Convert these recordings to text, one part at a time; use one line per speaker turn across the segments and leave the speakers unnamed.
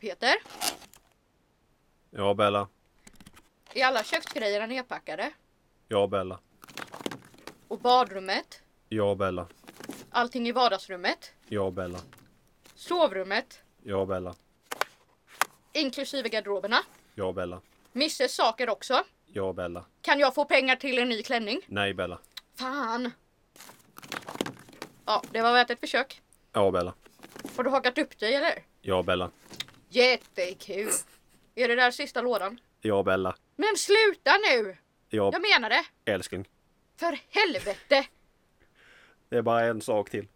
Peter.
Ja, Bella.
Är alla köksgrejerna nedpackade?
Ja, Bella.
Och badrummet?
Ja, Bella.
Allting i vardagsrummet?
Ja, Bella.
Sovrummet?
Ja, Bella.
Inklusive garderoberna?
Ja, Bella.
Misses saker också?
Ja, Bella.
Kan jag få pengar till en ny klänning?
Nej, Bella.
Fan! Ja, det var värt ett försök.
Ja, Bella.
Har du hakat upp dig eller?
Ja, Bella.
Jättekul! Är det där sista lådan?
Ja, Bella.
Men sluta nu!
Ja,
Jag menar det!
älskling.
För helvete!
Det är bara en sak till.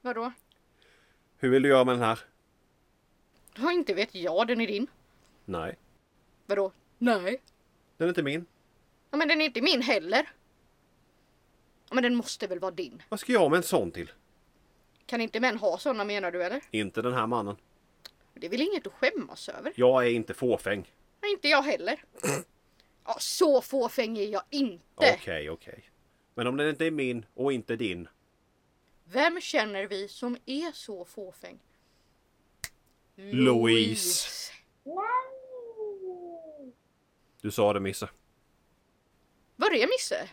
Vadå?
Hur vill du göra med den här?
Ja, inte vet jag, den är din.
Nej.
Vadå? Nej.
Den är inte min.
Ja, men den är inte min heller. Ja, men den måste väl vara din?
Vad ska jag med en sån till?
Kan inte män ha sådana menar du eller?
Inte den här mannen.
Det är väl inget att skämmas över?
Jag är inte fåfäng.
Nej, inte jag heller. Ja, så fåfäng är jag
Okej,
inte.
okej. Men om den inte är min och inte din.
Vem känner vi som är så fåfäng?
Louise. Du sa det, Misse.
Var är Misse?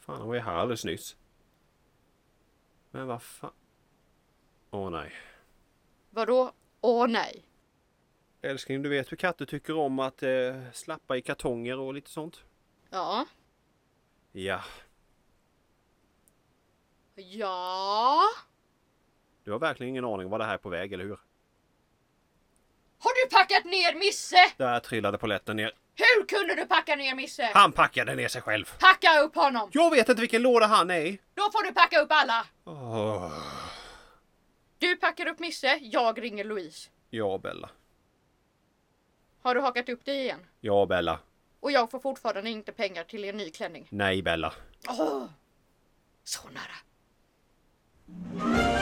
Fan, han var ju här alldeles nyss. Men vad fan? Åh nej.
Vadå? Åh nej.
Älskling, du vet hur katter tycker om att eh, slappa i kartonger och lite sånt?
Ja.
Ja,
Ja.
du har verkligen ingen aning om vad det här är på väg, eller hur?
Har du packat ner Misse?
Där trillade poletten ner.
Hur kunde du packa ner Misse?
Han packade ner sig själv!
Packa upp honom!
Jag vet inte vilken låda han är i!
Då får du packa upp alla!
Åh,
Du packar upp Misse, jag ringer Louise.
Ja, Bella.
Har du hakat upp dig igen?
Ja, Bella.
Och jag får fortfarande inte pengar till en ny klänning.
Nej, Bella.
Åh! Så nära.